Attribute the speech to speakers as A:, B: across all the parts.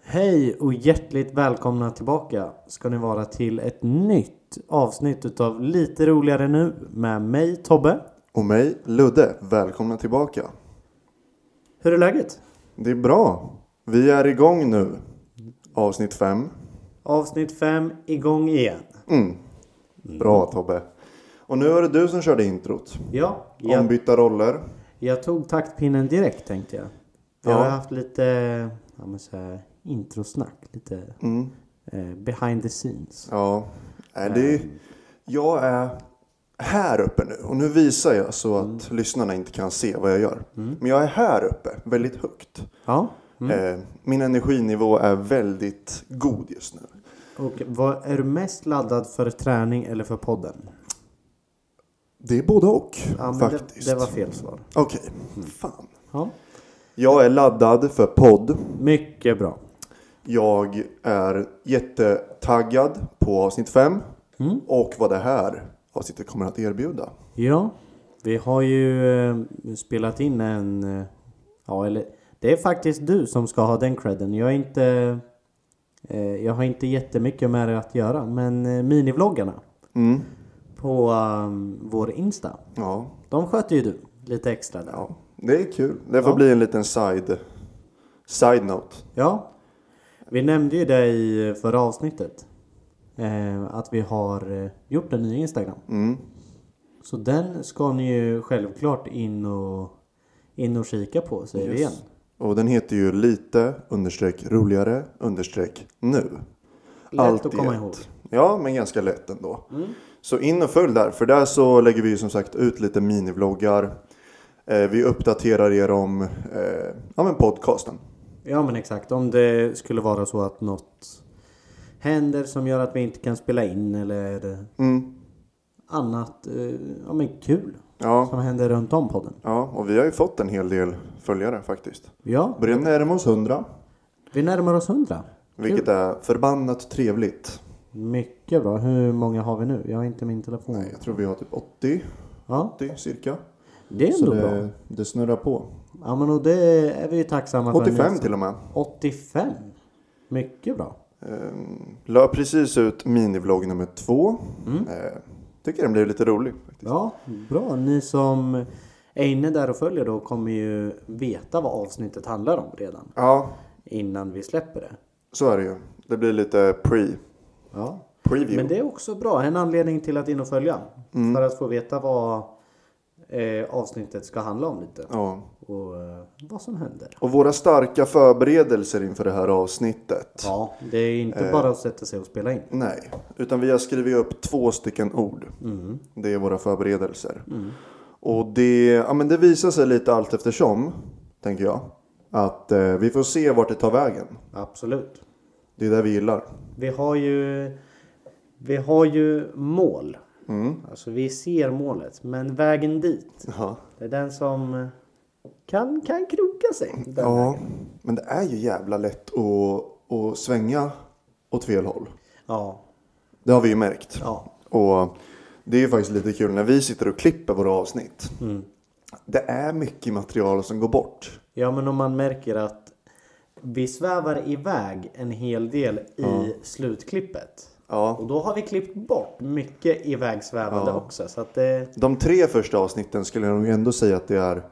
A: Hej och hjärtligt välkomna tillbaka ska ni vara till ett nytt avsnitt utav Lite roligare nu med mig Tobbe.
B: Och mig, Ludde. Välkomna tillbaka.
A: Hur är läget?
B: Det är bra. Vi är igång nu. Avsnitt 5.
A: Avsnitt 5 igång igen.
B: Mm. Bra Tobbe. Och nu var det du som körde introt.
A: Ja, jag,
B: Ombytta roller.
A: jag tog taktpinnen direkt tänkte jag. Jag har
B: Ja.
A: haft lite ja, men så här, introsnack, lite
B: Mm.
A: eh, behind the scenes.
B: Ja. Äh, det är... Jag är här uppe nu. Och nu visar jag så att
A: Mm.
B: lyssnarna inte kan se vad jag gör. Men jag är här uppe, väldigt högt.
A: Ja.
B: Eh, min energinivå är väldigt god just nu.
A: Och vad är du mest laddad för träning eller för podden?
B: Det är både och
A: Ja, men det,
B: faktiskt.
A: det var Mm. fel svar.
B: Okej, fan.
A: Ja.
B: Jag är laddad för podd.
A: Mycket bra.
B: Jag är jättetaggad på avsnitt 5 och vad det här avsnittet kommer att erbjuda.
A: Ja, vi har ju eh, spelat in en... Eh, ja, eller det är faktiskt du som ska ha den credden. Jag är inte... Eh, jag har inte jättemycket med det att göra, men eh, minivloggarna
B: Mm.
A: på eh, vår Insta,
B: Ja,
A: de sköter ju du lite extra där.
B: ja, det är kul. Det får bli en liten side, side note.
A: Ja. Vi nämnde ju det i förra avsnittet. Eh, att vi har eh, gjort en ny Instagram.
B: Mm.
A: Så den ska ni ju självklart in och, in och kika på, säger vi igen.
B: Och den heter ju lite understreck roligare understreck nu.
A: Lätt
B: Allt
A: att
B: i
A: komma
B: ett.
A: ihåg.
B: Ja, men ganska lätt ändå. Så in och följ där, för där så lägger vi ju som sagt ut lite minivloggar. Eh, vi uppdaterar er om eh, ja, men podcasten.
A: Ja men exakt, om det skulle vara så att något händer som gör att vi inte kan spela in eller
B: Mm.
A: annat eh, ja, men kul
B: Ja,
A: som händer runt om podden.
B: Ja, och vi har ju fått en hel del följare faktiskt.
A: Ja,
B: Börjar närma oss 100,
A: vi närmar oss 100.
B: vilket är förbannat trevligt.
A: Mycket bra. Hur många har vi nu? Jag har inte min telefon.
B: Nej, jag tror vi har typ 80,
A: Ja,
B: 80 cirka.
A: det är
B: Så
A: ändå bra.
B: det, det snurrar på.
A: Ja men och det är vi ju tacksamma för.
B: 85 till och med.
A: 85? Mycket bra.
B: Ehm, La precis ut minivlogg nummer två. Ehm, tycker den blev lite rolig. faktiskt.
A: Mm. Ja, bra. Ni som är inne där och följer då kommer ju veta vad avsnittet handlar om redan
B: Ja,
A: innan vi släpper det.
B: så är det ju. Det blir lite pre,
A: Ja,
B: preview.
A: Men det är också bra, en anledning till att in och följa. För att få veta vad eh, avsnittet ska handla om lite.
B: Ja.
A: Och eh, vad som händer.
B: Och våra starka förberedelser inför det här avsnittet.
A: Ja, det är inte bara att sätta sig och spela in.
B: Nej, utan vi har skrivit upp två stycken ord. Det är våra förberedelser. Och det, ja, men det visar sig lite allt eftersom, tänker jag. Att eh, vi får se vart det tar vägen.
A: Absolut.
B: Det är det vi gillar.
A: Vi har ju, vi har ju mål. Alltså vi ser målet, men vägen dit.
B: Ja.
A: Det är den som eh, kan, kan kroka sig. Den
B: ja, men det är ju jävla lätt att, att svänga åt fel håll.
A: ja.
B: Det har vi ju märkt.
A: Ja.
B: Och det är ju faktiskt lite kul när vi sitter och klipper våra avsnitt. Det är mycket material som går bort.
A: Ja, men om man märker att vi svävar iväg en hel del i slutklippet.
B: Ja.
A: Och då har vi klippt bort mycket ivägsvävande också. Så att det,
B: De tre första avsnitten skulle jag nog ändå säga att det är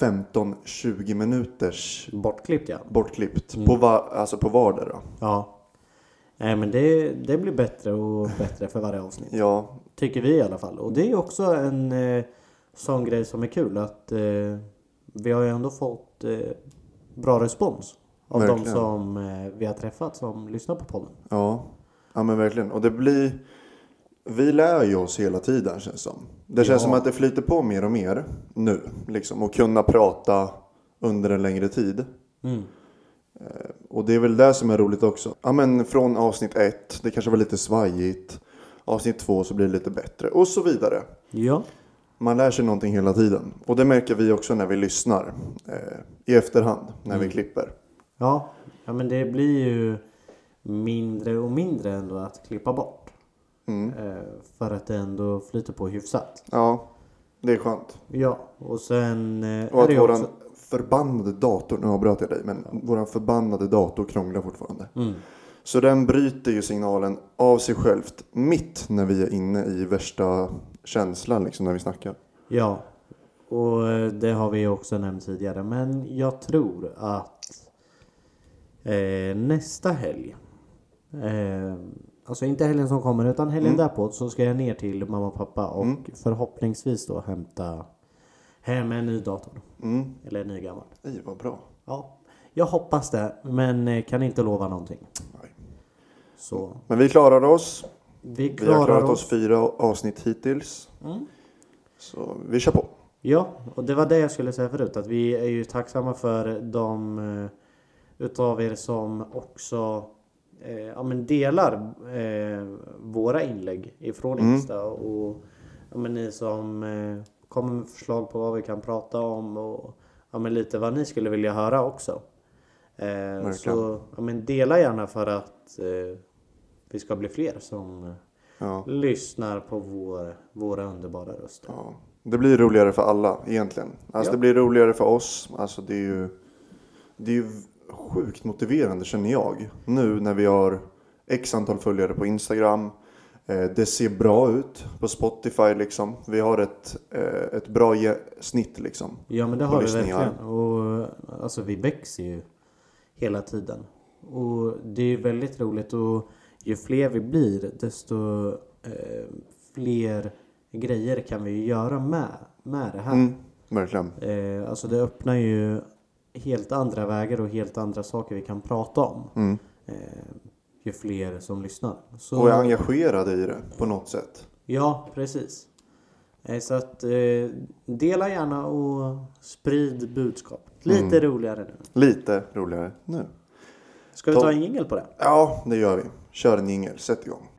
B: 15-20 minuters
A: bortklippt ja.
B: bortklippt på, va, alltså på vardera.
A: Ja. Nej, men det, det blir bättre och bättre för varje avsnitt.
B: Ja,
A: Tycker vi i alla fall. Och det är också en eh, sån grej som är kul att eh, vi har ju ändå fått eh, bra respons. Av de
B: Verkligen.
A: som eh, vi har träffat som lyssnar på podden.
B: ja, ja men verkligen. Och det blir, vi lär ju oss hela tiden känns som. Det känns som att det flyter på mer och mer nu. Liksom, och kunna prata under en längre tid.
A: Mm.
B: Eh, Och det är väl det som är roligt också. Ja men från avsnitt ett, det kanske var lite svajigt. Avsnitt två så blir det lite bättre och så vidare.
A: Ja.
B: Man lär sig någonting hela tiden. Och det märker vi också när vi lyssnar eh, i efterhand, när
A: Mm.
B: vi klipper.
A: Ja, ja men det blir ju mindre och mindre ändå att klippa bort. Eh, för att det ändå flyter på hyfsat.
B: Mm. Ja, Det är skönt.
A: Ja, och sen... eh, är det
B: Och att
A: ju
B: våran
A: också-
B: förbannade dator, nu avbröt jag dig, men våran förbannade dator krånglar fortfarande.
A: Mm.
B: Så den bryter ju signalen av sig självt mitt när vi är inne i värsta känslan liksom när vi snackar.
A: Ja, och eh, det har vi också nämnt tidigare. Men jag tror att eh, nästa helg, eh, alltså inte helgen som kommer utan helgen
B: Mm.
A: därpå, så ska jag ner till mamma och pappa och förhoppningsvis då hämta hem en ny dator.
B: Mm.
A: Eller en ny gammal.
B: Ej, vad bra.
A: Ja, jag hoppas det, men eh, kan inte lova någonting.
B: Nej.
A: Så
B: Men vi klarar oss.
A: vi
B: Vi har
A: klarar
B: klarat
A: oss.
B: oss fyra avsnitt hittills.
A: Mm.
B: Så vi kör på.
A: Ja, och det var det jag skulle säga förut. Att vi är ju tacksamma för de eh, utav er som också eh, ja, men delar eh, våra inlägg ifrån Insta. Och ja, men ni som eh, kommer med förslag på vad vi kan prata om och ja, men lite vad ni skulle vilja höra också. Eh, så ja, men dela gärna för att eh, vi ska bli fler som eh,
B: Ja.
A: lyssnar på vår, våra underbara röster.
B: Ja. Det blir roligare för alla egentligen. Alltså
A: Ja.
B: det blir roligare för oss. Alltså det är ju, det är ju sjukt motiverande känner jag. Nu när vi har x antal följare på Instagram. Eh, det ser bra ut på Spotify liksom. Vi har ett, eh, ett bra ge- snitt liksom.
A: Ja men det
B: på
A: har vi
B: lyssningar.
A: verkligen. Och, alltså vi växer ju hela tiden. Och det är ju väldigt roligt och ju fler vi blir desto eh, fler grejer kan vi ju göra med, med det här.
B: Mm, verkligen.
A: Eh, alltså det öppnar ju helt andra vägar och helt andra saker vi kan prata om.
B: Mm.
A: Eh, ju fler som lyssnar. Så,
B: Och är engagerade i det på något sätt.
A: Ja, precis. Eh, Så att eh, dela gärna och sprid budskap.
B: Mm.
A: Lite roligare nu.
B: Lite roligare nu.
A: Ska vi
B: Ta-
A: ta en jingel på det?
B: Ja, det gör vi. Kör en jingel, sätt igång.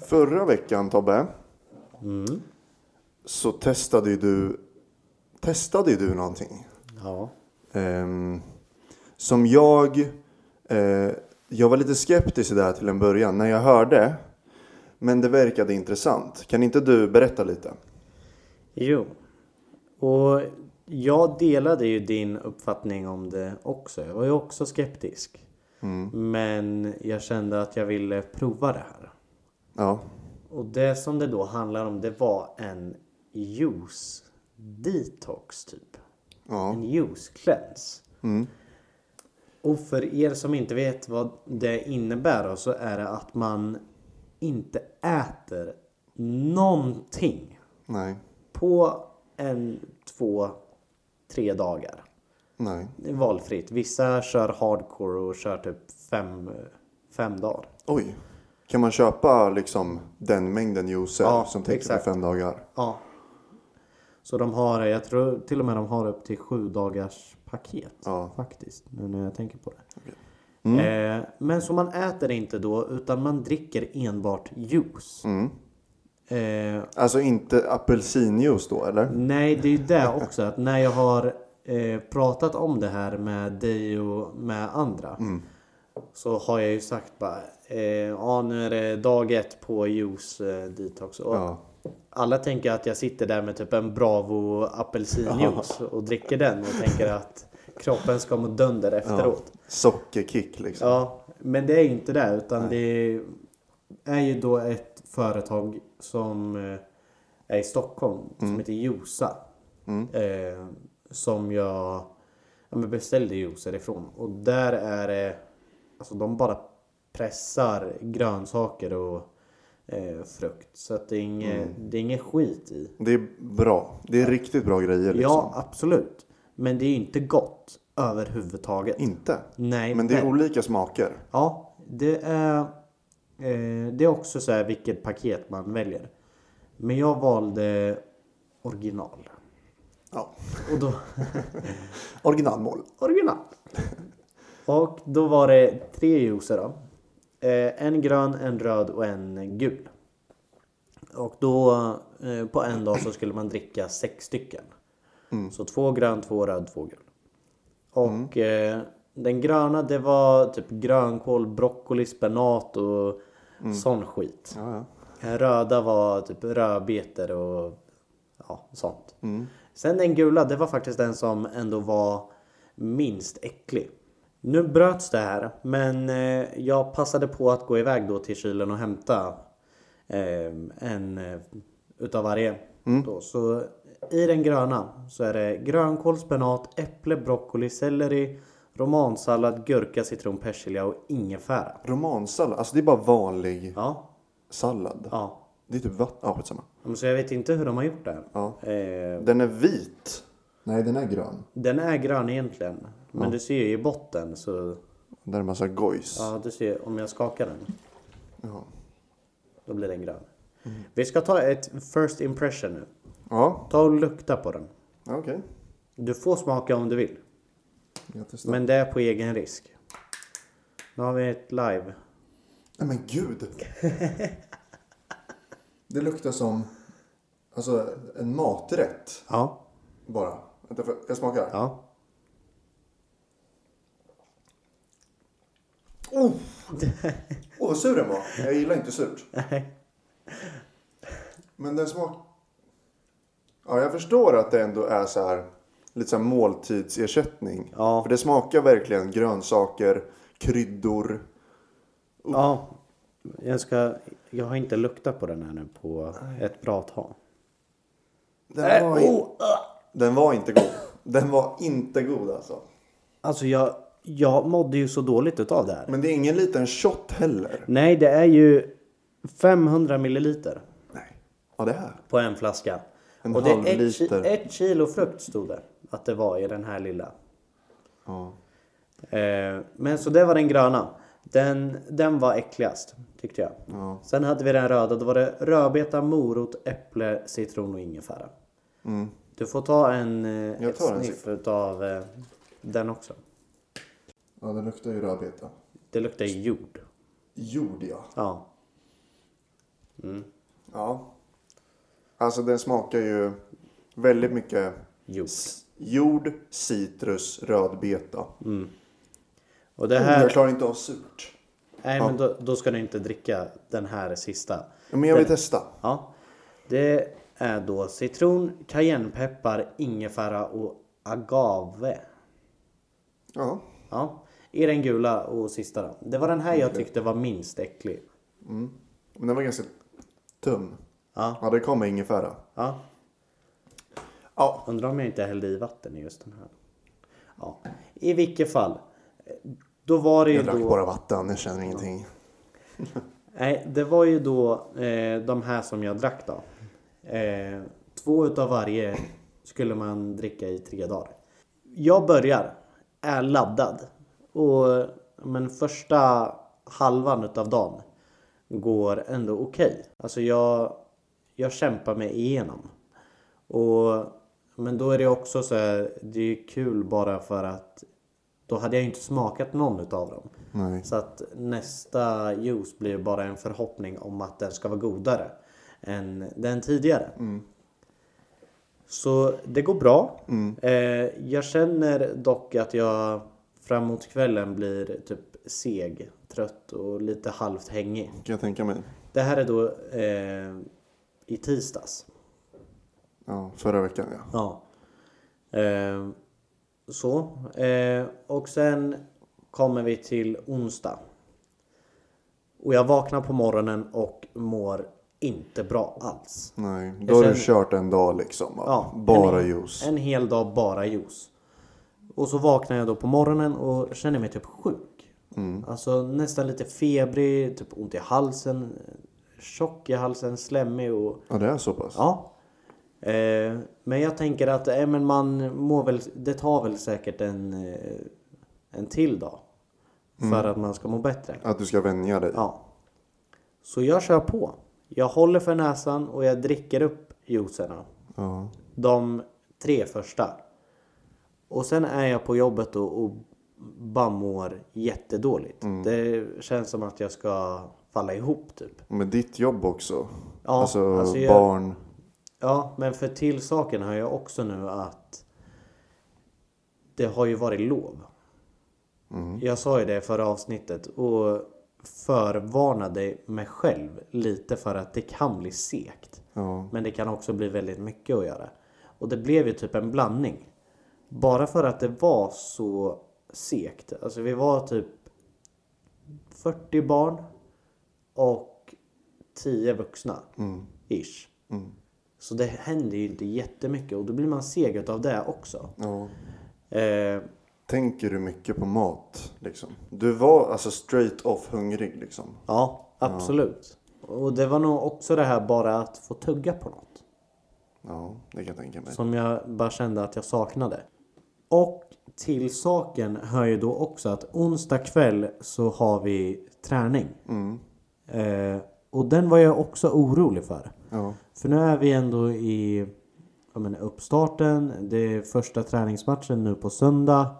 B: Förra veckan Tobbe, så testade ju du, testade ju du någonting.
A: Ja.
B: Ehm, som jag... eh, jag var lite skeptisk i det här till en början när jag hörde. Men det verkade intressant. Kan inte du berätta lite?
A: Jo. Och jag delade ju din uppfattning om det också. Jag var ju också skeptisk.
B: Mm,
A: Men jag kände att jag ville prova det här.
B: Ja.
A: Och det som det då handlar om det var en juice detox typ.
B: Ja.
A: En juice cleanse.
B: Mm.
A: Och för er som inte vet vad det innebär då, så är det att man inte äter någonting
B: Nej.
A: på en, två, tre dagar.
B: Nej.
A: Det är valfritt. Vissa kör hardcore och kör typ fem, fem dagar.
B: Oj. Kan man köpa liksom den mängden juicer
A: Ja,
B: som täcker för
A: exakt.
B: fem dagar?
A: Ja. Så de har, jag tror till och med de har upp till sju dagars paket.
B: Ja.
A: Faktiskt, nu när jag tänker på det. Eh, men så man äter inte då, utan man dricker enbart juice. Eh,
B: Alltså inte apelsinjuice då eller?
A: nej, det är ju det också. Att när jag har eh, pratat om det här med dig och med andra. Så har jag ju sagt bara, eh, ja nu är det dag ett på juice eh, detox. Och
B: Ja.
A: alla tänker att jag sitter där med typ en Bravo apelsinjuice och dricker den och tänker att kroppen ska må dunder efteråt.
B: Sockerkick liksom.
A: Ja, men det är ju inte det utan det är ju då ett företag som eh, är i Stockholm
B: Mm.
A: som heter Josa. Eh, som jag ja, men beställde juicer ifrån. Och där är det, alltså de bara pressar grönsaker och eh, frukt. Så att det är inget,
B: Mm.
A: det är inget skit i.
B: Det är bra. Det är riktigt bra grejer liksom.
A: Ja, absolut. Men det är ju inte gott överhuvudtaget.
B: Inte.
A: Nej,
B: Men det är
A: verkligen.
B: olika smaker.
A: Ja, det är, eh, det är också så här vilket paket man väljer. Men jag valde original.
B: Ja.
A: Och då,
B: Originalmål.
A: original. Och då var det tre juicer då. Eh, en grön, en röd och en gul. Och då eh, på en dag så skulle man dricka sex stycken. Så två grön, två röd, två gul. Och eh, den gröna det var typ grönkål, broccoli, spenat och sån skit.
B: Ja, ja.
A: Den röda var typ rödbetor och ja, sånt. Sen den gula, det var faktiskt den som ändå var minst äcklig. Nu bröts det här, men eh, jag passade på att gå iväg då till kylen och hämta eh, en eh, utav varje. Då. Så i den gröna så är det grönkål, spenat, äpple, broccoli, selleri, romansallad, gurka, citron, persilja och ingefära.
B: Romansallad, alltså det är bara vanlig
A: Ja,
B: sallad.
A: ja.
B: Det är typ vatten. Ja, skitsamma.
A: Men Så jag vet inte hur de har gjort det.
B: Ja.
A: Eh,
B: Den är vit. Nej, den är grön.
A: den är grön egentligen. Men du ser ju i botten så...
B: Där är en massa gojs.
A: Ja, du ser om jag skakar den.
B: Ja.
A: Då blir den grön. Vi ska ta ett first impression nu.
B: Ja,
A: Ta och lukta på den.
B: ja okej.
A: Du får smaka om du vill.
B: Jag testar.
A: Men det är på egen risk. Nu har vi ett live.
B: Nej men gud! det luktar som alltså, en maträtt
A: Ja.
B: bara. Vänta, får jag- jag smakar?
A: Ja.
B: Oh! Åh, vad sur den var. Jag gillar inte surt. Men den smak... Ja, jag förstår att det ändå är så här lite så här måltidsersättning.
A: Ja.
B: För det smakar verkligen grönsaker, kryddor.
A: Ja. Jag ska... Jag har inte luktat på den här nu på ett bra tag.
B: Den, var, in... den var inte god. Den var inte god alltså.
A: Alltså jag... Jag mådde ju så dåligt utav det här.
B: Men det är ingen liten shot heller.
A: Typ. Nej, det är ju 500 milliliter
B: Nej. Ja, det här.
A: på en flaska.
B: En
A: och det är
B: halv
A: ett, ki-
B: liter.
A: ett kilo frukt stod det att det var i den här lilla.
B: Ja.
A: Eh, men så det var den gröna. Den, den var äckligast tyckte jag.
B: Ja.
A: Sen hade vi den röda. Då var det rödbeta, morot, äpple, citron och ingefära.
B: Mm.
A: Du får ta en eh,
B: Jag
A: ett
B: tar en
A: sniff utav eh, den också.
B: ja, den luktar ju rödbeta.
A: Det luktar jord.
B: Jord, ja.
A: Ja.
B: Ja. Alltså den smakar ju väldigt mycket
A: Jord.
B: s- jord, citrus, rödbeta.
A: Och det
B: Jag
A: här...
B: klarar inte av surt.
A: Nej men då, då ska du inte dricka den här sista.
B: Men jag vill testa.
A: Ja. Det är då citron, cayennepeppar, ingefära och agave.
B: Ja.
A: Ja. I den gula och sista då. Det var den här jag tyckte var minst äcklig.
B: Men den var ganska tunn.
A: Ja.
B: Ja, det kommer ingefära.
A: ja.
B: Ja.
A: Undrar om jag inte hällde i vatten i just den här. Ja. I vilket fall. Då var det ju
B: Jag drack
A: då.
B: bara vatten, jag känner ingenting.
A: Nej, det var ju då eh, de här som jag drack då. Eh, två utav varje skulle man dricka i tre dagar. Jag börjar, är laddad. Och, eh, men första halvan utav dagen går ändå okej. Alltså jag, jag kämpar mig igenom. Och, men då är det också så här, det är kul bara för att då hade jag ju inte smakat någon utav dem.
B: Nej.
A: Så att nästa juice blir bara en förhoppning om att den ska vara godare än den tidigare. Så det går bra. Eh, jag känner dock att jag framåt kvällen blir typ seg, trött och lite halvt hängig.
B: Kan jag tänka mig.
A: Det här är då eh, i tisdags.
B: Ja, förra veckan ja.
A: Ja. Eh, så. Eh, och sen kommer vi till onsdag. Och jag vaknar på morgonen och mår inte bra alls.
B: Nej, då har
A: känner-
B: du kört en dag liksom. va?
A: Ja,
B: bara
A: en,
B: juice.
A: En hel dag bara juice. Och så vaknar jag då på morgonen och känner mig typ sjuk. Alltså nästan lite febrig, typ ont i halsen, tjock i halsen, slemmig och
B: Ja, det är så pass?
A: Ja. Eh, men jag tänker att eh, men man mår väl, det tar väl säkert en, eh, en till dag. För att man ska må bättre.
B: Att du ska vänja dig?
A: Ja. Så jag kör på. Jag håller för näsan och jag dricker upp juicerna.
B: Ja.
A: De tre första. Och sen är jag på jobbet då och bara mår jättedåligt. Det känns som att jag ska falla ihop typ.
B: Med ditt jobb också.
A: Ja,
B: alltså,
A: alltså jag-
B: barn.
A: Ja, men för till saken hör jag också nu att det har ju varit lov. Jag sa ju det i förra avsnittet och förvarnade mig själv lite för att det kan bli segt.
B: Ja.
A: Men det kan också bli väldigt mycket att göra. Och det blev ju typ en blandning. Bara för att det var så segt. Alltså vi var typ 40 barn och 10 vuxna. Ish. Så det hände ju inte jättemycket och då blir man seg av det också.
B: ja.
A: Eh,
B: Tänker du mycket på mat? Liksom? Du var alltså straight off hungrig liksom.
A: ja, absolut. Och det var nog också det här bara att få tugga på något.
B: Ja, det kan jag tänka mig.
A: Som jag bara kände att jag saknade. Och till saken hör ju då också att onsdag kväll så har vi träning. Eh, och den var jag också orolig för.
B: Ja.
A: För nu är vi ändå i ja, men uppstarten. Det är första träningsmatchen nu på söndag.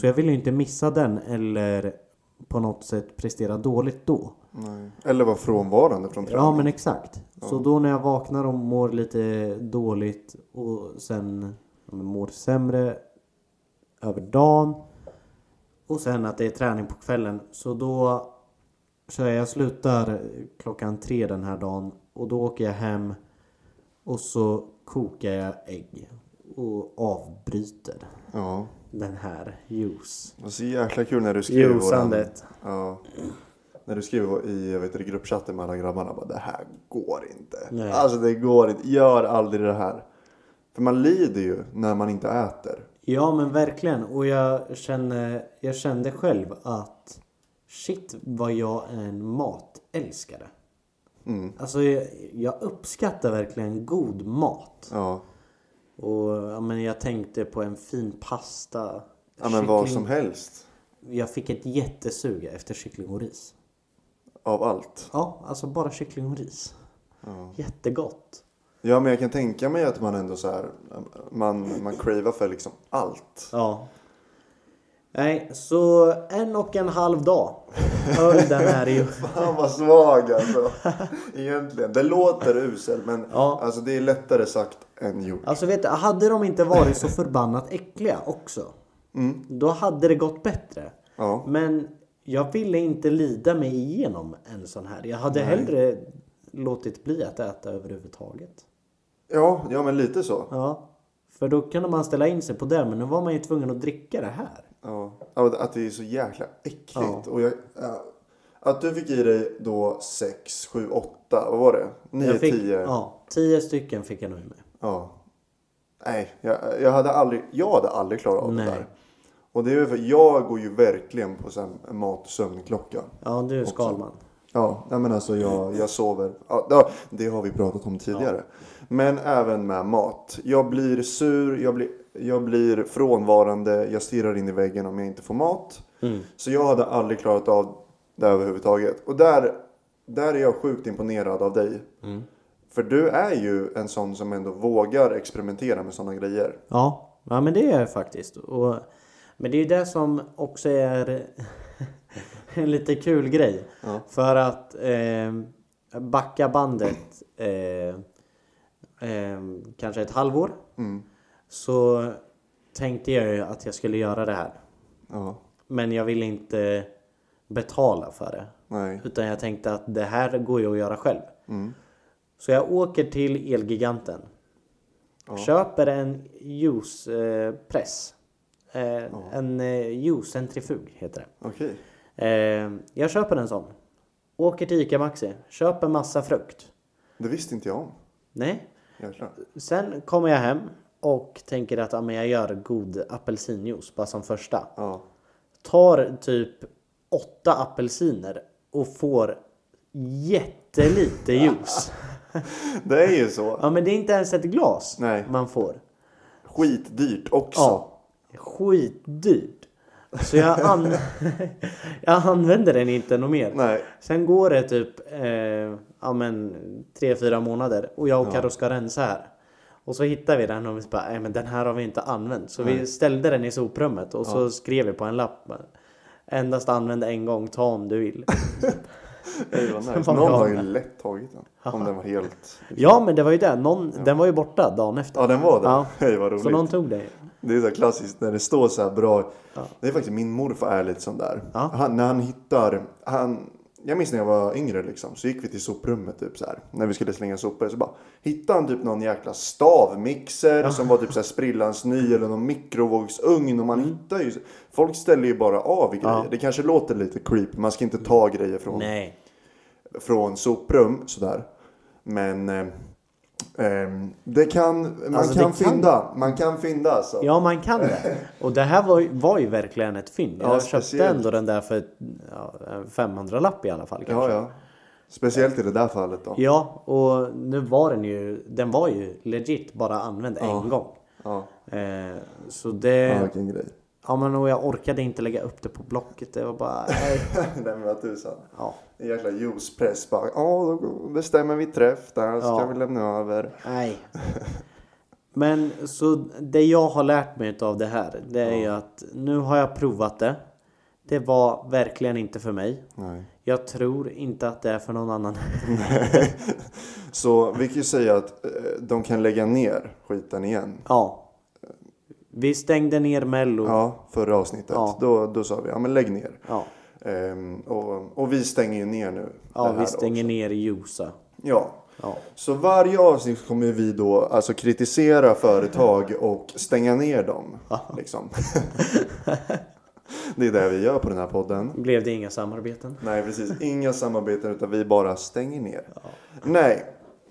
A: Så jag vill ju inte missa den eller på något sätt prestera dåligt då.
B: Nej. Eller var frånvarande från träning.
A: Ja men exakt. Så då när jag vaknar och mår lite dåligt och sen ja, men mår sämre över dagen och sen att det är träning på kvällen så då kör jag, jag slutar klockan tre den här dagen och då åker jag hem och så kokar jag ägg och avbryter
B: Ja.
A: den här juice.
B: Det var så jäkla kul när du skrev i våran...
A: Juicandet.
B: Ja. När du skrev i jag vet, inte, gruppchatten med alla grabbarna. Bara, det här går inte.
A: Nej.
B: Alltså det går inte. Gör aldrig det här. För man lider ju när man inte äter.
A: Ja men verkligen och jag kände, jag kände själv att shit vad jag är en matälskare.
B: Mm.
A: Alltså jag, jag uppskattar verkligen god mat.
B: Ja.
A: Och ja, men jag tänkte på en fin pasta.
B: ja men vad
A: kyckling-
B: som helst.
A: Jag fick ett jättesug efter kyckling och ris.
B: Av allt.
A: Ja, alltså bara kyckling och ris. Jättegott.
B: Ja men jag kan tänka mig att man ändå så här. Man, man cravar för liksom allt.
A: Ja. Nej, så en och en halv dag höll den här i...
B: Fan vad svag alltså. Egentligen. Det låter usel men
A: Ja.
B: alltså, det är lättare sagt än gjort.
A: Alltså vet du, hade de inte varit så förbannat äckliga också. Då hade det gått bättre.
B: Ja.
A: Men jag ville inte lida mig igenom en sån här. Jag hade hellre låtit bli att äta överhuvudtaget.
B: Ja, ja men lite så.
A: Ja. För då kunde man ställa in sig på det, men nu var man ju tvungen att dricka det här.
B: Ja. Ja, Att det är så jäkla äckligt.
A: Ja.
B: Och jag, ja. Att du fick i dig då 6, 7, 8, vad var det? 9,
A: Jag fick,
B: 10? Ja.
A: Ja, tio stycken fick jag nog i mig.
B: Nej, jag, jag, hade aldrig, jag hade aldrig klarat av
A: Nej.
B: det där. Och det är ju för, jag går ju verkligen på så här mat och sömnklocka.
A: Ja, du Skalman.
B: Ja, nej men alltså jag, jag sover. Ja, ja, det har vi pratat om tidigare. Men även med mat. Jag blir sur, jag blir, jag blir frånvarande, jag stirrar in i väggen om jag inte får mat. Så jag hade aldrig klarat av det överhuvudtaget. Och där, där är jag sjukt imponerad av dig. För du är ju en sån som ändå vågar experimentera med sådana grejer.
A: Ja, ja men det är jag faktiskt. Och, men det är ju det som också är en lite kul grej. För att eh, backa bandet eh, eh, kanske ett halvår. Så tänkte jag ju att jag skulle göra det här.
B: Ja,
A: Men jag ville inte betala för det.
B: nej. Mm.
A: Utan jag tänkte att det här går ju att göra själv. Så jag åker till Elgiganten. Köper en juicepress. Eh, En eh, juicecentrifug heter det.
B: Okej.
A: Eh, jag köper en sån. Åker till ICA Maxi. Köper massa frukt.
B: Det visste inte jag om.
A: Nej.
B: Jäklar.
A: Sen kommer jag hem och tänker att ja, men jag gör god apelsinjuice bara som första.
B: Ja.
A: Tar typ åtta apelsiner och får jättelite juice.
B: Det är ju så.
A: Ja men det är inte ens ett glas
B: Nej.
A: man får.
B: Skitdyrt också.
A: Ja. Skitdyrt. Så jag, an... jag använder den inte något mer.
B: Nej.
A: Sen går det typ eh, ja, men, tre, fyra månader och jag och Carro ska rensa här. Och så hittade vi den och vi bara, nej men den här har vi inte använt. Så vi ställde den i soprummet och så skrev vi på en lapp. Endast använd en gång, ta om du vill.
B: Det var nice.
A: var
B: Någon
A: bra
B: har ju
A: med.
B: lätt tagit den. Om den var helt...
A: ja men det var ju det, Någon, den var ju borta dagen efter.
B: Ja den var det.
A: Ja.
B: Hej vad roligt.
A: så någon tog det.
B: Det är så här klassiskt när det står så här bra.
A: Ja.
B: Det är faktiskt min morfar är lite sån där.
A: Ja.
B: Han, när han hittar, han, jag minns när jag var yngre liksom, så gick vi till soprummet typ så här. När vi skulle slänga sopor så bara hittade han typ någon jäkla stavmixer som var typ så här sprillans ny eller någon mikrovågsugn och man hittar ju. Folk ställer ju bara av grejer.
A: Mm. Ja.
B: Det kanske låter lite creepy, man ska inte ta grejer från
A: Nej.
B: från soprum sådär. Men eh, ehm, det kan, man
A: Alltså, det
B: kan
A: kan-
B: fynda. Man kan fynda alltså.
A: Ja man kan det. Och det här var ju, var ju verkligen ett fynd. Jag
B: Ja,
A: köpte
B: speciellt.
A: ändå den där för ja, 500 lapp i alla fall. Kanske.
B: ja, ja. Speciellt i det där fallet då.
A: Ja, och nu var den ju, den var ju legit bara använd en gång.
B: Ja,
A: Eh, så det,
B: ja
A: ja.
B: vilken grej.
A: men och jag orkade inte lägga upp det på blocket. Det var bara, nej.
B: Nej men vad tusan.
A: ja,
B: En jäkla juicepress bara. Ja, då bestämmer vi träff där så
A: Ja.
B: kan vi lämna över.
A: nej. Men så det jag har lärt mig av det här, det är ju att nu har jag provat det. Det var verkligen inte för mig.
B: Nej.
A: Jag tror inte att det är för någon annan.
B: Så vi kan ju säga att eh, de kan lägga ner skiten igen.
A: ja. Vi stängde ner mello. Ja.
B: Ja, förra avsnittet.
A: Ja.
B: Då, då sa vi ja men lägg ner.
A: Ja,
B: Ehm, och, och vi stänger ju ner nu. det här
A: vi stänger
B: också.
A: ner Josa.
B: Ja,
A: Ja.
B: Så varje avsnitt kommer vi då alltså kritisera företag och stänga ner dem. Liksom. Det är det vi gör på den här podden.
A: Blev det inga samarbeten?
B: Nej, precis. Inga samarbeten utan vi bara stänger ner. Nej,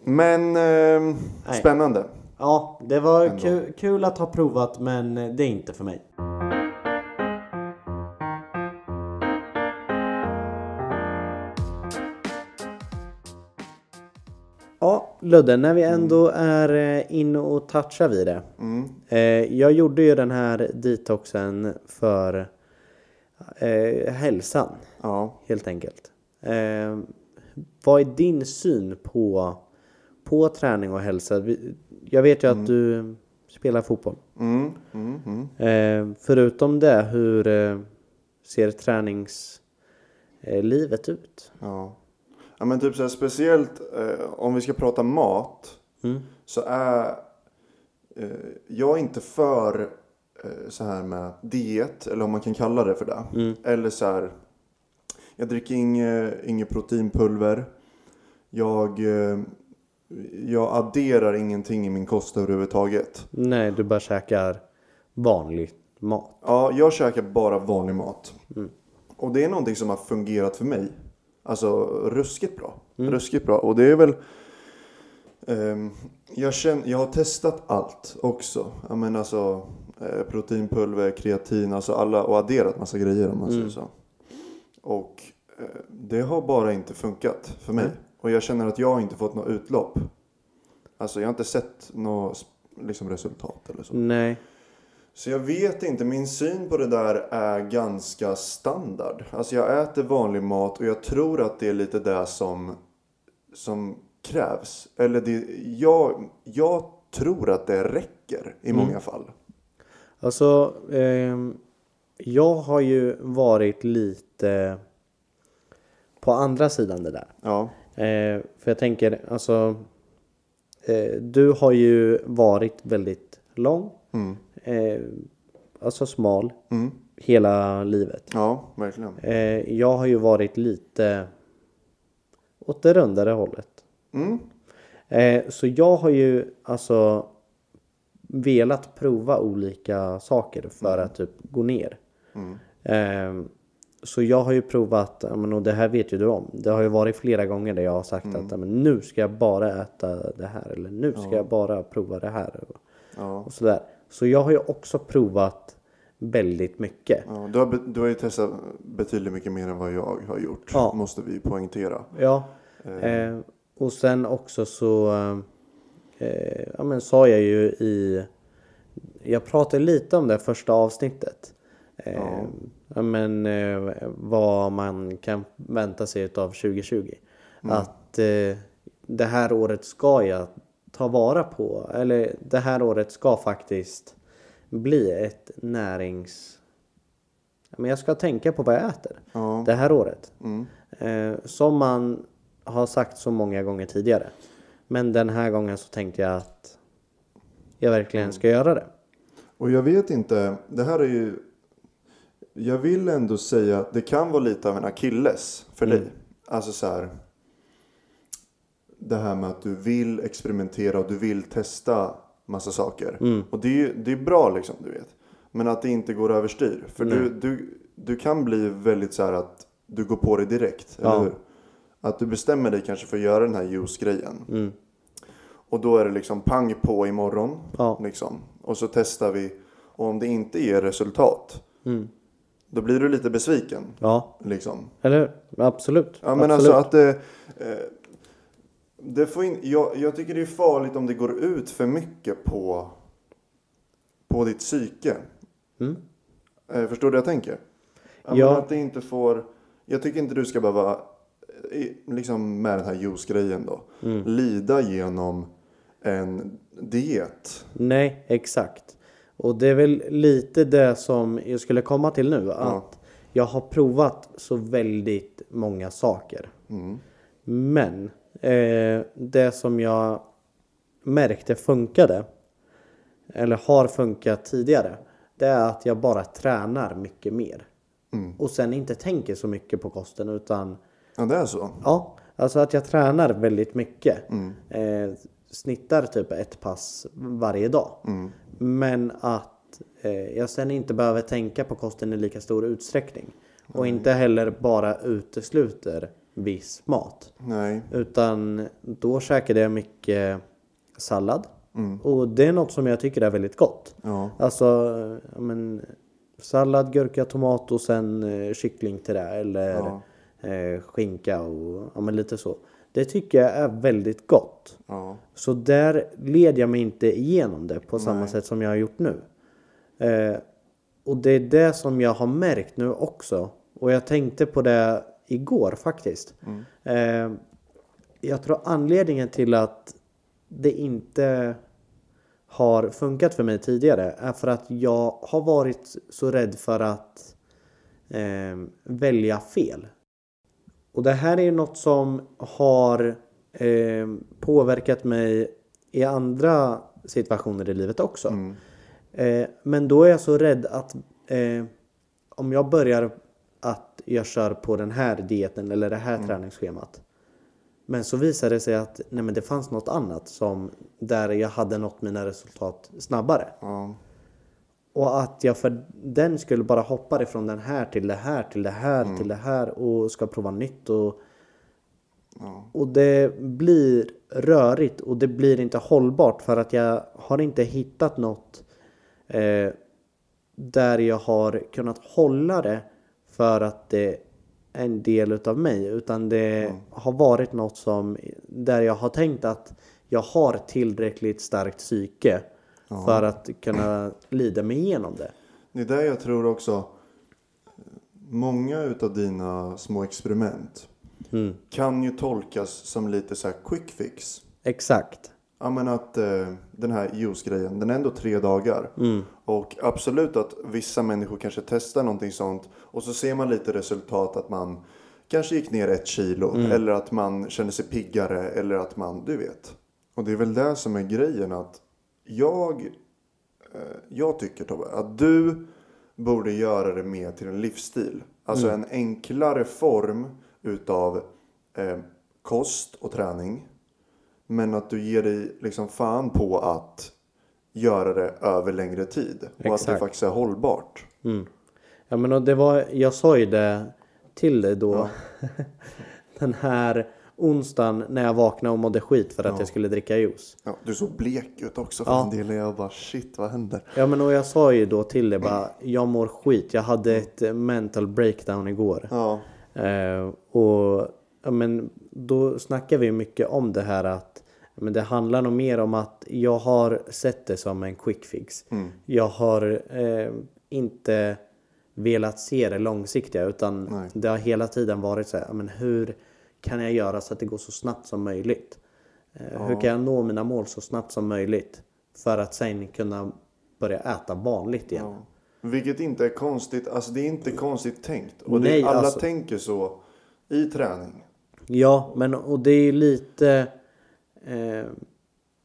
B: men ehm,
A: Nej.
B: spännande.
A: Ja, det var kul, kul att ha provat men det är inte för mig. Ja, Ludde, när vi ändå är eh, inne och touchar vid det. Eh, Jag gjorde ju den här detoxen för eh, hälsan
B: Ja.
A: helt enkelt. Eh, vad är din syn på, på träning och hälsa? Vi- Jag vet ju att du spelar fotboll.
B: Mm, mm, mm.
A: Eh, förutom det, hur eh, ser träningslivet ut?
B: Ja. ja men typ så här, speciellt eh, om vi ska prata mat.
A: Mm.
B: Så är eh, jag är inte för eh, så här med diet. Eller om man kan kalla det för det. Eller så här. Jag dricker inget, inget proteinpulver. Jag, eh, jag adderar ingenting i min kost överhuvudtaget.
A: Nej, du bara käkar vanlig mat.
B: Ja, jag käkar bara vanlig mat. Och det är någonting som har fungerat för mig. Alltså ruskigt bra. Ruskigt bra. Och det är väl... ehm, jag, känner, jag har testat allt också. Jag menar alltså eh, proteinpulver, kreatin, alltså alla och adderat massa grejer om man säger så. Och eh, det har bara inte funkat för mig. Och jag känner att jag har inte fått något utlopp. Alltså jag har inte sett något liksom, resultat eller så.
A: Nej.
B: Så jag vet inte, min syn på det där är ganska standard. Alltså jag äter vanlig mat och jag tror att det är lite det som, som krävs. Eller det, jag, jag tror att det räcker i många fall.
A: Alltså, ehm, jag har ju varit lite på andra sidan det där.
B: Ja,
A: Eh, för jag tänker, alltså. Eh, du har ju varit väldigt lång. Eh, alltså smal. Hela livet.
B: mm. ja verkligen.
A: Eh, jag har ju varit lite åt det rundare hållet.
B: Mm.
A: Eh, så jag har ju alltså velat prova olika saker för att typ gå ner. Eh, så jag har ju provat, ja, men, och det här vet ju du om. Det har ju varit flera gånger där jag har sagt att ja, men, nu ska jag bara äta det här eller nu ska jag bara prova det här. Och,
B: Ja.
A: och sådär. Så jag har ju också provat väldigt mycket.
B: Ja, du, har, be- du har ju testat betydligt mycket mer än vad jag har gjort.
A: Ja.
B: Måste vi poängtera.
A: Ja. Eh, och sen också så eh, ja, men sa jag ju i... Jag pratade lite om det första avsnittet. Eh, ja. men, eh, vad man kan
B: Mm.
A: vänta sig av 2020. Att eh, det här året ska jag ta vara på. Eller det här året ska faktiskt bli ett närings... Ja, Men jag ska tänka på vad jag äter
B: Ja.
A: det här året.
B: Mm.
A: Eh, som man har sagt så många gånger tidigare. Men den här gången så tänkte jag att jag
B: Mm.
A: verkligen ska göra det.
B: Och jag vet inte, det här är ju... Jag vill ändå säga att det kan vara lite av en akilles för dig. Alltså så här... Det här med att du vill experimentera och du vill testa massa saker. Och det är, ju- det är bra liksom, du vet. Men att det inte går överstyr. För du, du, du kan bli väldigt så här att du går på det direkt,
A: Ja.
B: eller hur? Att du bestämmer dig kanske för att göra den här juice-grejen.
A: Mm.
B: Och då är det liksom pang på imorgon.
A: Ja.
B: Liksom. Och så testar vi. Och om det inte ger resultat. Då blir du lite besviken.
A: Mm. Ja,
B: Liksom.
A: eller hur? Absolut.
B: Ja men
A: Absolut.
B: alltså att det... Eh, det får in, jag, jag tycker det är farligt om det går ut för mycket på, på ditt psyke.
A: Mm.
B: Eh, förstår du vad jag tänker? Ja,
A: Ja.
B: Men att det inte får... Jag tycker inte du ska behöva, eh, i- liksom med den här juice-grejen då,
A: Mm.
B: lida genom en diet.
A: Nej, exakt. Och det är väl lite det som jag skulle komma till nu. Att jag har provat så väldigt många saker.
B: Mm.
A: Men eh, det som jag märkte funkade, eller har funkat tidigare, det är att jag bara tränar mycket mer.
B: Mm.
A: Och sen inte tänker så mycket på kosten utan
B: Ja, det är så.
A: Ja, alltså att jag tränar väldigt mycket. Eh, snittar typ ett pass varje dag.
B: Mm.
A: Men att eh, jag sen inte behöver tänka på kosten i lika stor utsträckning. Och inte heller bara utesluter viss mat.
B: Nej.
A: Utan då käkade jag mycket sallad. Och det är något som jag tycker är väldigt gott.
B: Ja.
A: Alltså, ja, men, sallad, gurka, tomat och sen eh, kyckling till det. Eller eh, skinka och ja, men lite så. Det tycker jag är väldigt gott.
B: Ja.
A: Så där led jag mig inte igenom det på samma sätt som jag har gjort nu. Eh, och det är det som jag har märkt nu också. Och jag tänkte på det igår faktiskt. Eh, jag tror anledningen till att det inte har funkat för mig tidigare är för att jag har varit så rädd för att eh, välja fel. Och det här är ju något som har eh, påverkat mig i andra situationer i livet också. Eh, men då är jag så rädd att eh, om jag börjar att jag kör på den här dieten eller det här träningsschemat. Men så visade det sig att nej men det fanns något annat som där jag hade nått mina resultat snabbare.
B: Ja.
A: Och att jag för den skulle bara hoppa ifrån den här till det här till det här till det här och ska prova nytt och... Och det blir rörigt och det blir inte hållbart för att jag har inte hittat något eh, där jag har kunnat hålla det för att det är en del utav mig utan det har varit något som där jag har tänkt att jag har tillräckligt starkt psyke för att kunna lida mig igenom det.
B: Det är där jag tror också. Många utav dina små experiment kan ju tolkas som lite så här quick fix.
A: Exakt.
B: Ja men att eh, den här juice-grejen, den är ändå tre dagar. Och absolut att vissa människor kanske testar någonting sånt och så ser man lite resultat att man kanske gick ner ett kilo eller att man känner sig piggare eller att man, du vet. Och det är väl det som är grejen att jag, eh, jag tycker Tobbe, att du borde göra det mer till en livsstil. Alltså
A: Mm.
B: en enklare form utav eh, kost och träning. Men att du ger dig liksom fan på att göra det över längre tid. Och att det
A: Exakt.
B: faktiskt är hållbart.
A: Mm. Ja, men och det var, jag sa ju det till dig då. Den här onsdagen när jag vaknade och mådde skit för att jag skulle dricka juice.
B: Ja, du såg blek ut också för
A: Ja.
B: en del. Jag bara shit vad händer?
A: Ja men och jag sa ju då till dig bara, jag mår skit. Jag hade ett eh, mental breakdown igår.
B: Ja,
A: Eh, och ja, men då snackar vi mycket om det här att men det handlar nog mer om att jag har sett det som en quick fix. Jag har eh, inte velat se det långsiktiga utan
B: Nej.
A: det har hela tiden varit så här, ja, men hur kan jag göra så att det går så snabbt som möjligt? Eh, Hur kan jag nå mina mål så snabbt som möjligt? För att sen kunna börja äta vanligt igen.
B: Ja. Vilket inte är konstigt. Alltså det är inte konstigt tänkt. Och
A: Nej,
B: det, alla
A: alltså-
B: tänker så i träning.
A: Ja, men och det är ju lite... Eh,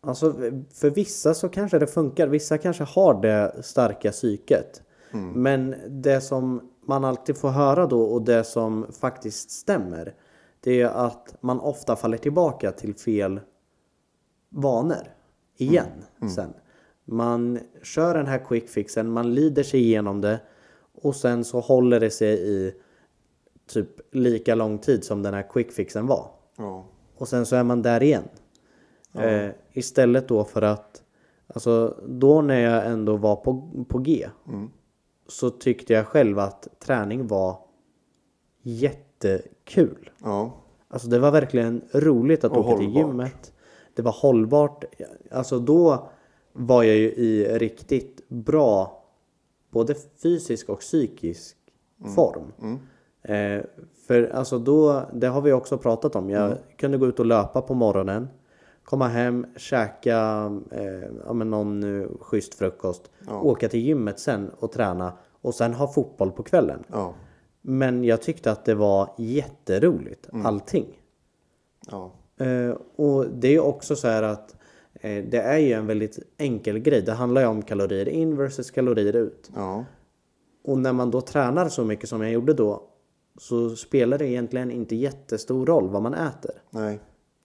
A: alltså för vissa så kanske det funkar. Vissa kanske har det starka psyket. Men det som man alltid får höra då och det som faktiskt stämmer. Det är att man ofta faller tillbaka till fel vanor igen sen. Man kör den här quick fixen, man lider sig igenom det och sen så håller det sig i typ lika lång tid som den här quick fixen var.
B: Ja.
A: Och sen så är man där igen. Eh, istället då för att, alltså då när jag ändå var på, på G så tyckte jag själv att träning var jättekul.
B: Ja.
A: Alltså det var verkligen roligt att
B: Och
A: åka till
B: hållbart.
A: gymmet. Det var hållbart. Alltså då var jag ju i riktigt bra både fysisk och psykisk
B: Mm.
A: form. Eh, för alltså då, det har vi också pratat om. Jag
B: Mm.
A: kunde gå ut och löpa på morgonen. Komma hem, käka eh, ja, men någon eh, schysst frukost. Åka till gymmet sen och träna. Och sen ha fotboll på kvällen.
B: Ja.
A: Men jag tyckte att det var jätteroligt,
B: Mm.
A: allting.
B: Ja.
A: Eh, och det är också så här att eh, det är ju en väldigt enkel grej. Det handlar ju om kalorier in versus kalorier ut.
B: Ja.
A: Och när man då tränar så mycket som jag gjorde då så spelar det egentligen inte jättestor roll vad man äter.
B: Nej.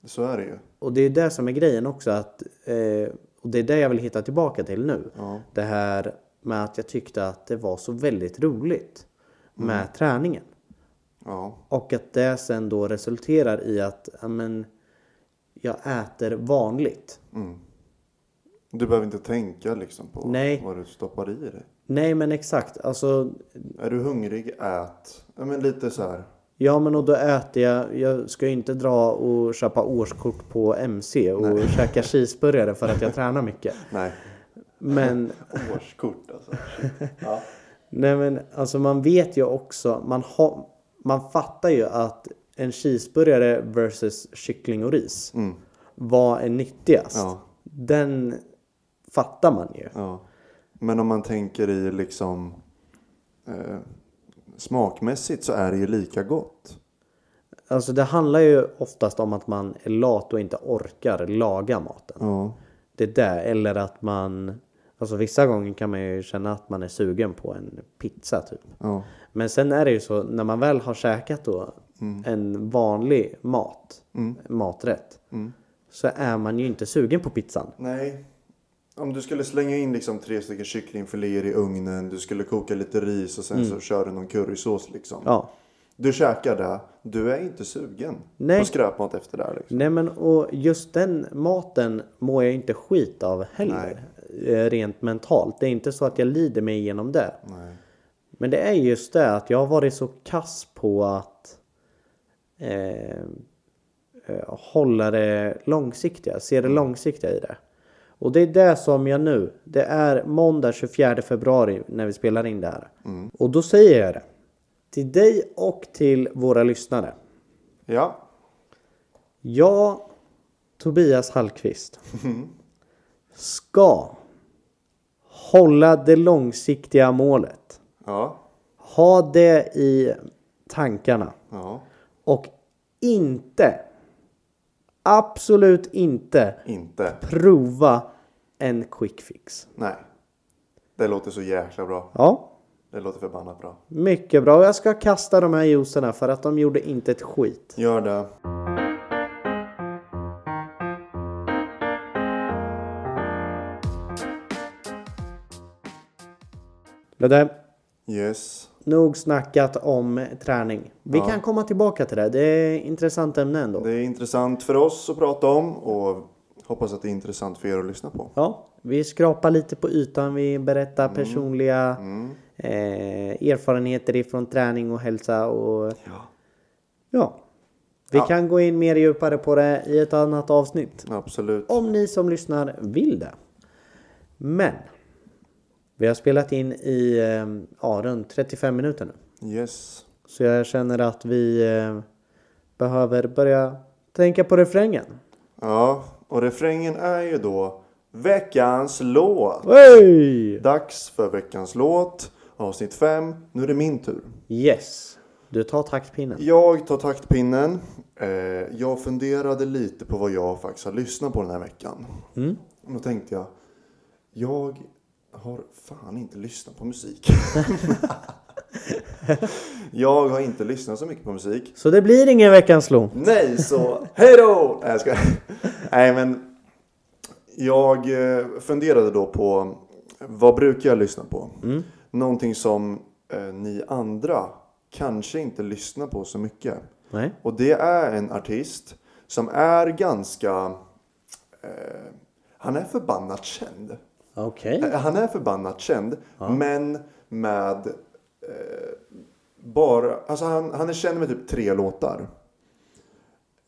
B: Så är det ju.
A: Och det är det som är grejen också att eh, och det är det jag vill hitta tillbaka till nu. Det här med att jag tyckte att det var så väldigt roligt med träningen.
B: Ja.
A: Och att det sen då resulterar i att ja, men, jag äter vanligt.
B: Du behöver inte tänka liksom på
A: Nej.
B: vad du stoppar i dig.
A: Nej men exakt. Alltså,
B: Är du hungrig, ät. Ja, men lite så här.
A: ja men och då äter jag. Jag ska ju inte dra och köpa årskort på MC och käka cheeseburgare för att jag tränar mycket.
B: Nej.
A: Men,
B: Årskort alltså. Shit. Ja.
A: nej men alltså man vet ju också. Man, har, man fattar ju att en cheeseburgare versus kyckling och ris. Vad är nyttigast?
B: Ja.
A: Den fattar man ju.
B: ja. Men om man tänker i liksom eh, smakmässigt så är det ju lika gott.
A: Alltså det handlar ju oftast om att man är lat och inte orkar laga maten.
B: Ja.
A: Det är det, eller att man... Alltså vissa gånger kan man ju känna att man är sugen på en pizza typ.
B: Ja.
A: Men sen är det ju så, när man väl har käkat då en vanlig mat, maträtt. Så är man ju inte sugen på pizzan.
B: Nej. Om du skulle slänga in liksom tre stycken kycklingfiléer i ugnen, du skulle koka lite ris och sen så kör du någon currysås liksom.
A: Ja.
B: Du käkar det, du är inte sugen
A: Nej.
B: på skräpmat efter det här. Liksom.
A: Nej men och just den maten mår jag inte skit av heller. eh, Rent mentalt. Det är inte så att jag lider mig igenom det.
B: Nej.
A: Men det är just det att jag har varit så kass på att eh, eh, hålla det långsiktiga, se det långsiktiga i det. Och det är det som jag nu, det är måndag 24 februari när vi spelar in det här. Och då säger jag det. Till dig och till våra lyssnare.
B: Ja,
A: Jag, Tobias Hallqvist, ska hålla det långsiktiga målet.
B: ja,
A: Ha det i tankarna.
B: ja.
A: Och inte, absolut inte,
B: Inte.
A: prova en quick fix.
B: Nej. Det låter så jäkla bra.
A: Ja,
B: Det låter förbannat bra.
A: mycket bra. Och Jag ska kasta de här juicerna för att de gjorde inte ett skit.
B: Gör det.
A: Ludde,
B: Yes.
A: nog snackat om träning. Vi kan komma tillbaka till det. Det är ett intressant ämne ändå.
B: Det är intressant för oss att prata om och hoppas att det är intressant för er att lyssna på.
A: Ja, vi skrapar lite på ytan. Vi berättar personliga Eh, erfarenheter ifrån träning och hälsa och
B: Ja.
A: Ja. Vi
B: Ja.
A: kan gå in mer djupare på det i ett annat avsnitt.
B: Absolut.
A: Om ni som lyssnar vill det. Men. Vi har spelat in i eh, ja, runt 35 minuter nu.
B: Yes.
A: Så jag känner att vi eh, behöver börja tänka på refrängen.
B: Ja, Och refrängen är ju då veckans låt.
A: Hey!
B: Dags för veckans låt, avsnitt 5. Nu är det min tur.
A: Yes! Du tar taktpinnen.
B: Jag tar taktpinnen. Eh, jag funderade lite på vad jag faktiskt har lyssnat på den här veckan. Och då tänkte jag, jag har fan inte lyssnat på musik. jag har inte lyssnat så mycket på musik.
A: Så det blir ingen veckans lån.
B: Nej, så hej då! Nej, jag skojar. Nej, men jag eh, funderade då på vad brukar jag lyssna på? Någonting som eh, ni andra kanske inte lyssnar på så mycket.
A: Nej.
B: Och det är en artist som är ganska... Eh, han är förbannat känd.
A: Okej.
B: Eh, Han är förbannat känd, men med... Eh, bara, alltså han, han är känd med typ tre låtar.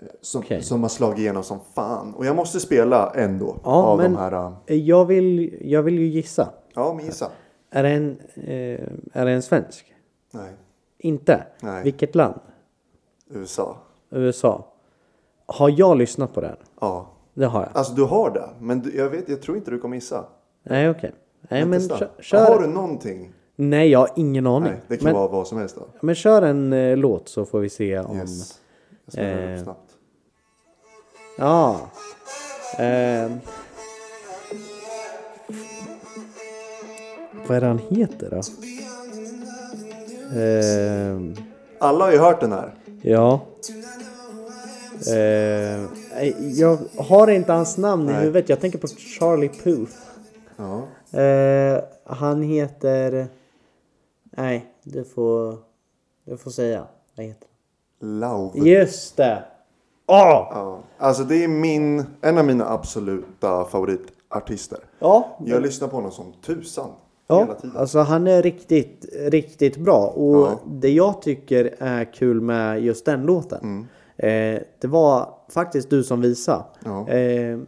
B: Eh, Som,
A: Okej.
B: som har slagit igenom som fan. Och jag måste spela en då.
A: Ja,
B: av
A: men-
B: de här... eh,
A: Jag, vill, jag vill ju gissa.
B: Ja, men gissa.
A: Är det en, eh, är det en svensk?
B: Nej.
A: Inte?
B: Nej.
A: Vilket land?
B: USA.
A: USA. Har jag lyssnat på den?
B: Ja.
A: Det har jag.
B: Alltså du har det. Men du, jag, vet, jag tror inte du kommer gissa.
A: Nej okej. Nej men
B: Testa.
A: kö-
B: Har
A: kör.
B: du någonting?
A: Nej jag har ingen aning.
B: Nej, det kan
A: men,
B: vara vad som helst då.
A: men kör en eh, låt så får vi se om...
B: Yes. Jag spelar
A: eh,
B: upp snabbt.
A: Ja. Ehm. Vad är det han heter då? Ehm.
B: Alla har ju hört den här.
A: Ja. Ehm. nej, jag har inte hans namn i
B: Nej.
A: huvudet. Jag tänker på Charlie Puth.
B: Ja.
A: Eh, han heter... Nej, du får, du får säga. Vad heter han?
B: Love.
A: Just det! Åh!
B: Ja, alltså det är min, en av mina absoluta favoritartister.
A: Ja,
B: Jag lyssnar på honom som tusan. Hela
A: ja.
B: tiden.
A: alltså han är riktigt, riktigt bra. Och
B: Ja.
A: det jag tycker är kul med just den låten. Eh, det var faktiskt du som visade
B: Mm. Ja.
A: eh,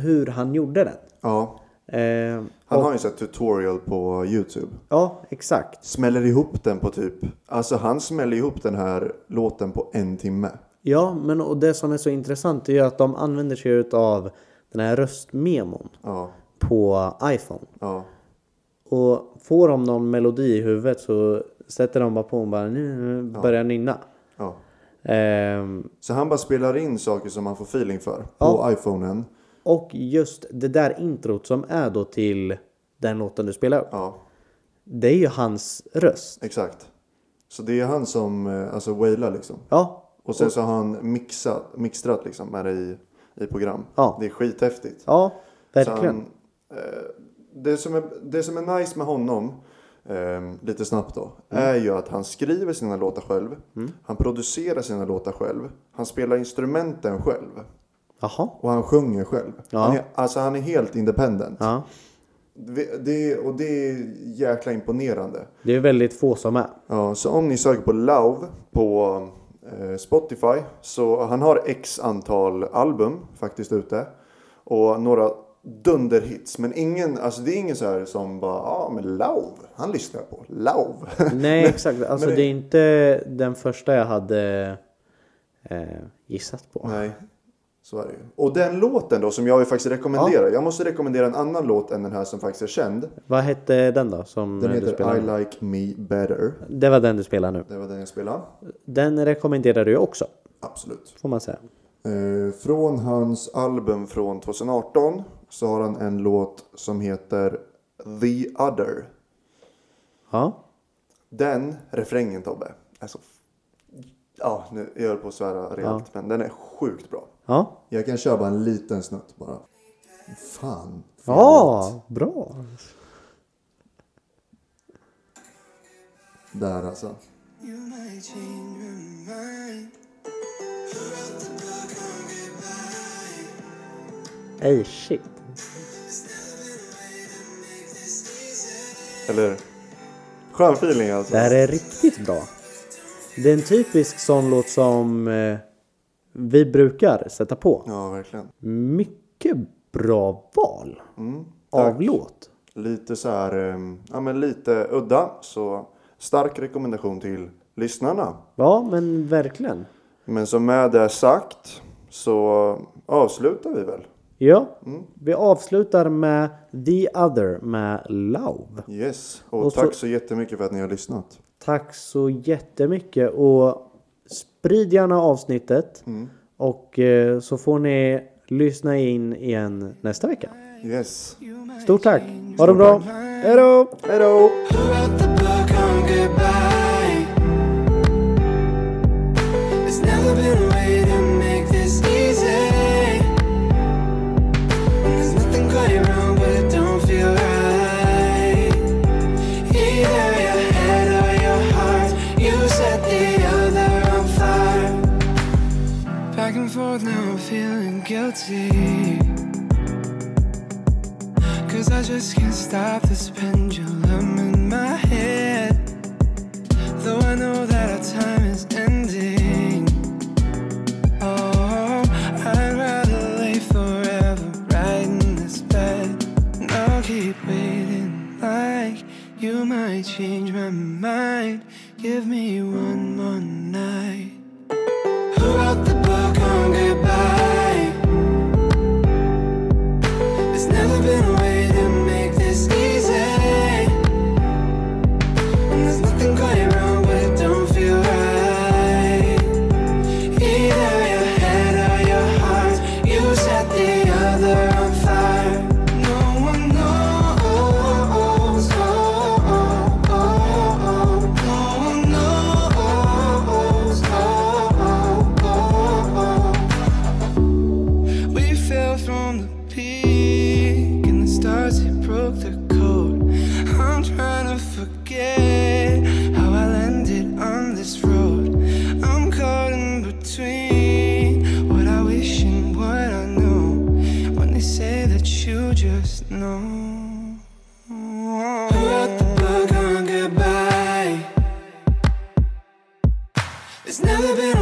A: hur han gjorde den.
B: Ja,
A: Eh,
B: han har ju sett tutorial på Youtube.
A: ja, exakt.
B: Smäller ihop den på typ, alltså han smäller ihop den här låten på en timme.
A: Ja, men och det som är så intressant är ju att de använder sig av den här röstmemon
B: Ja,
A: på iPhone.
B: ja,
A: Och får de någon melodi i huvudet så sätter de bara på och bara nu nu börjar nynna.
B: ja.
A: Ehm,
B: Så han bara spelar in saker som han får feeling för på iPhonen.
A: och just det där introt som är då till den låten du spelar upp.
B: Ja,
A: Det är ju hans röst.
B: exakt. Så det är han som, eh, alltså wailar liksom.
A: Ja,
B: Och sen så har han mixat, mixtrat liksom med det i, i program.
A: Ja.
B: Det är skithäftigt.
A: ja
B: Så
A: verkligen.
B: han, eh, det, som är, det som är nice med honom, eh, lite snabbt då,
A: Mm.
B: är ju att han skriver sina låtar själv. Han producerar sina låtar själv. Han spelar instrumenten själv.
A: Jaha.
B: Och han sjunger själv.
A: Ja.
B: Han är, alltså han är helt independent.
A: Ja.
B: Det, det, och det är jäkla imponerande.
A: Det är väldigt få som är.
B: Ja, så om ni söker på Love på eh, Spotify så han har x antal album faktiskt ute. Och några dunderhits. Men ingen, alltså det är ingen så här som bara ja ah, men Love, han lyssnar jag på. Love.
A: Nej exakt, alltså
B: men
A: det...
B: det-
A: är inte den första jag hade eh, gissat på.
B: Nej, så är det ju. Och den låten då som jag ju faktiskt rekommenderar. Jag måste rekommendera en annan låt än den här som faktiskt är känd.
A: Vad hette den då? Som
B: Den
A: eh, du
B: heter
A: spelade?
B: I Like Me Better.
A: Det var den du spelade nu.
B: Det var den jag spelade.
A: Den rekommenderar du också,
B: Absolut.
A: får man säga.
B: Eh, från hans album från 2018 så har han en låt som heter The Other.
A: Ja.
B: Den refrängen Tobbe. Alltså, ja, nu jag höll på att svära rejält, men den är sjukt bra.
A: Ja.
B: Jag kan köra bara en liten snutt bara. Fan.
A: Ja, bra.
B: Där alltså.
C: You might change your mind.
A: Ey, shit.
B: Eller Skön feeling alltså.
A: Det här är riktigt bra. Det är en typisk sån låt som eh, vi brukar sätta på.
B: Ja, verkligen.
A: Mycket bra val
B: Mm, tack.
A: av låt.
B: Lite så här, eh, ja men lite udda. Så stark rekommendation till lyssnarna.
A: Ja, men verkligen.
B: Men som med det sagt så avslutar vi väl
D: Ja, vi avslutar med The Other med Love.
B: Yes, och,
D: Och så-
B: tack så jättemycket för att ni har lyssnat.
D: Tack så jättemycket och sprid gärna avsnittet. Och eh, så får ni lyssna in igen nästa vecka.
B: Yes.
D: Stort tack!
A: Oh.
D: Ha det bra! Hej då!
B: Hej då!
C: Who wrote the book on goodbye? There's never been a way to make this easy. And there's nothing quite wrong, but it don't feel right. Either your head or your heart, you set the other on fire. Back and forth now, I'm feeling guilty. Cause I just can't stop this pendulum in my head. Though I know that our time is ending. Oh, I'd rather lay forever right in this bed. And I'll keep waiting, like you might change my mind. Give me one more night. Who wrote the book on goodbye? There's never been a way to make this easy. And there's nothing quite wrong, but it don't feel right. Either your head or your heart, you set the other on fire. No one knows. Oh, oh, oh, oh. No one knows. Oh, oh, oh, oh. We fell from the peak, and the stars it broke the code. I'm trying to forget how I landed on this road. I'm caught in between what I wish and what I know. When they say that you just know. Who wrote the book on goodbye? There's never been a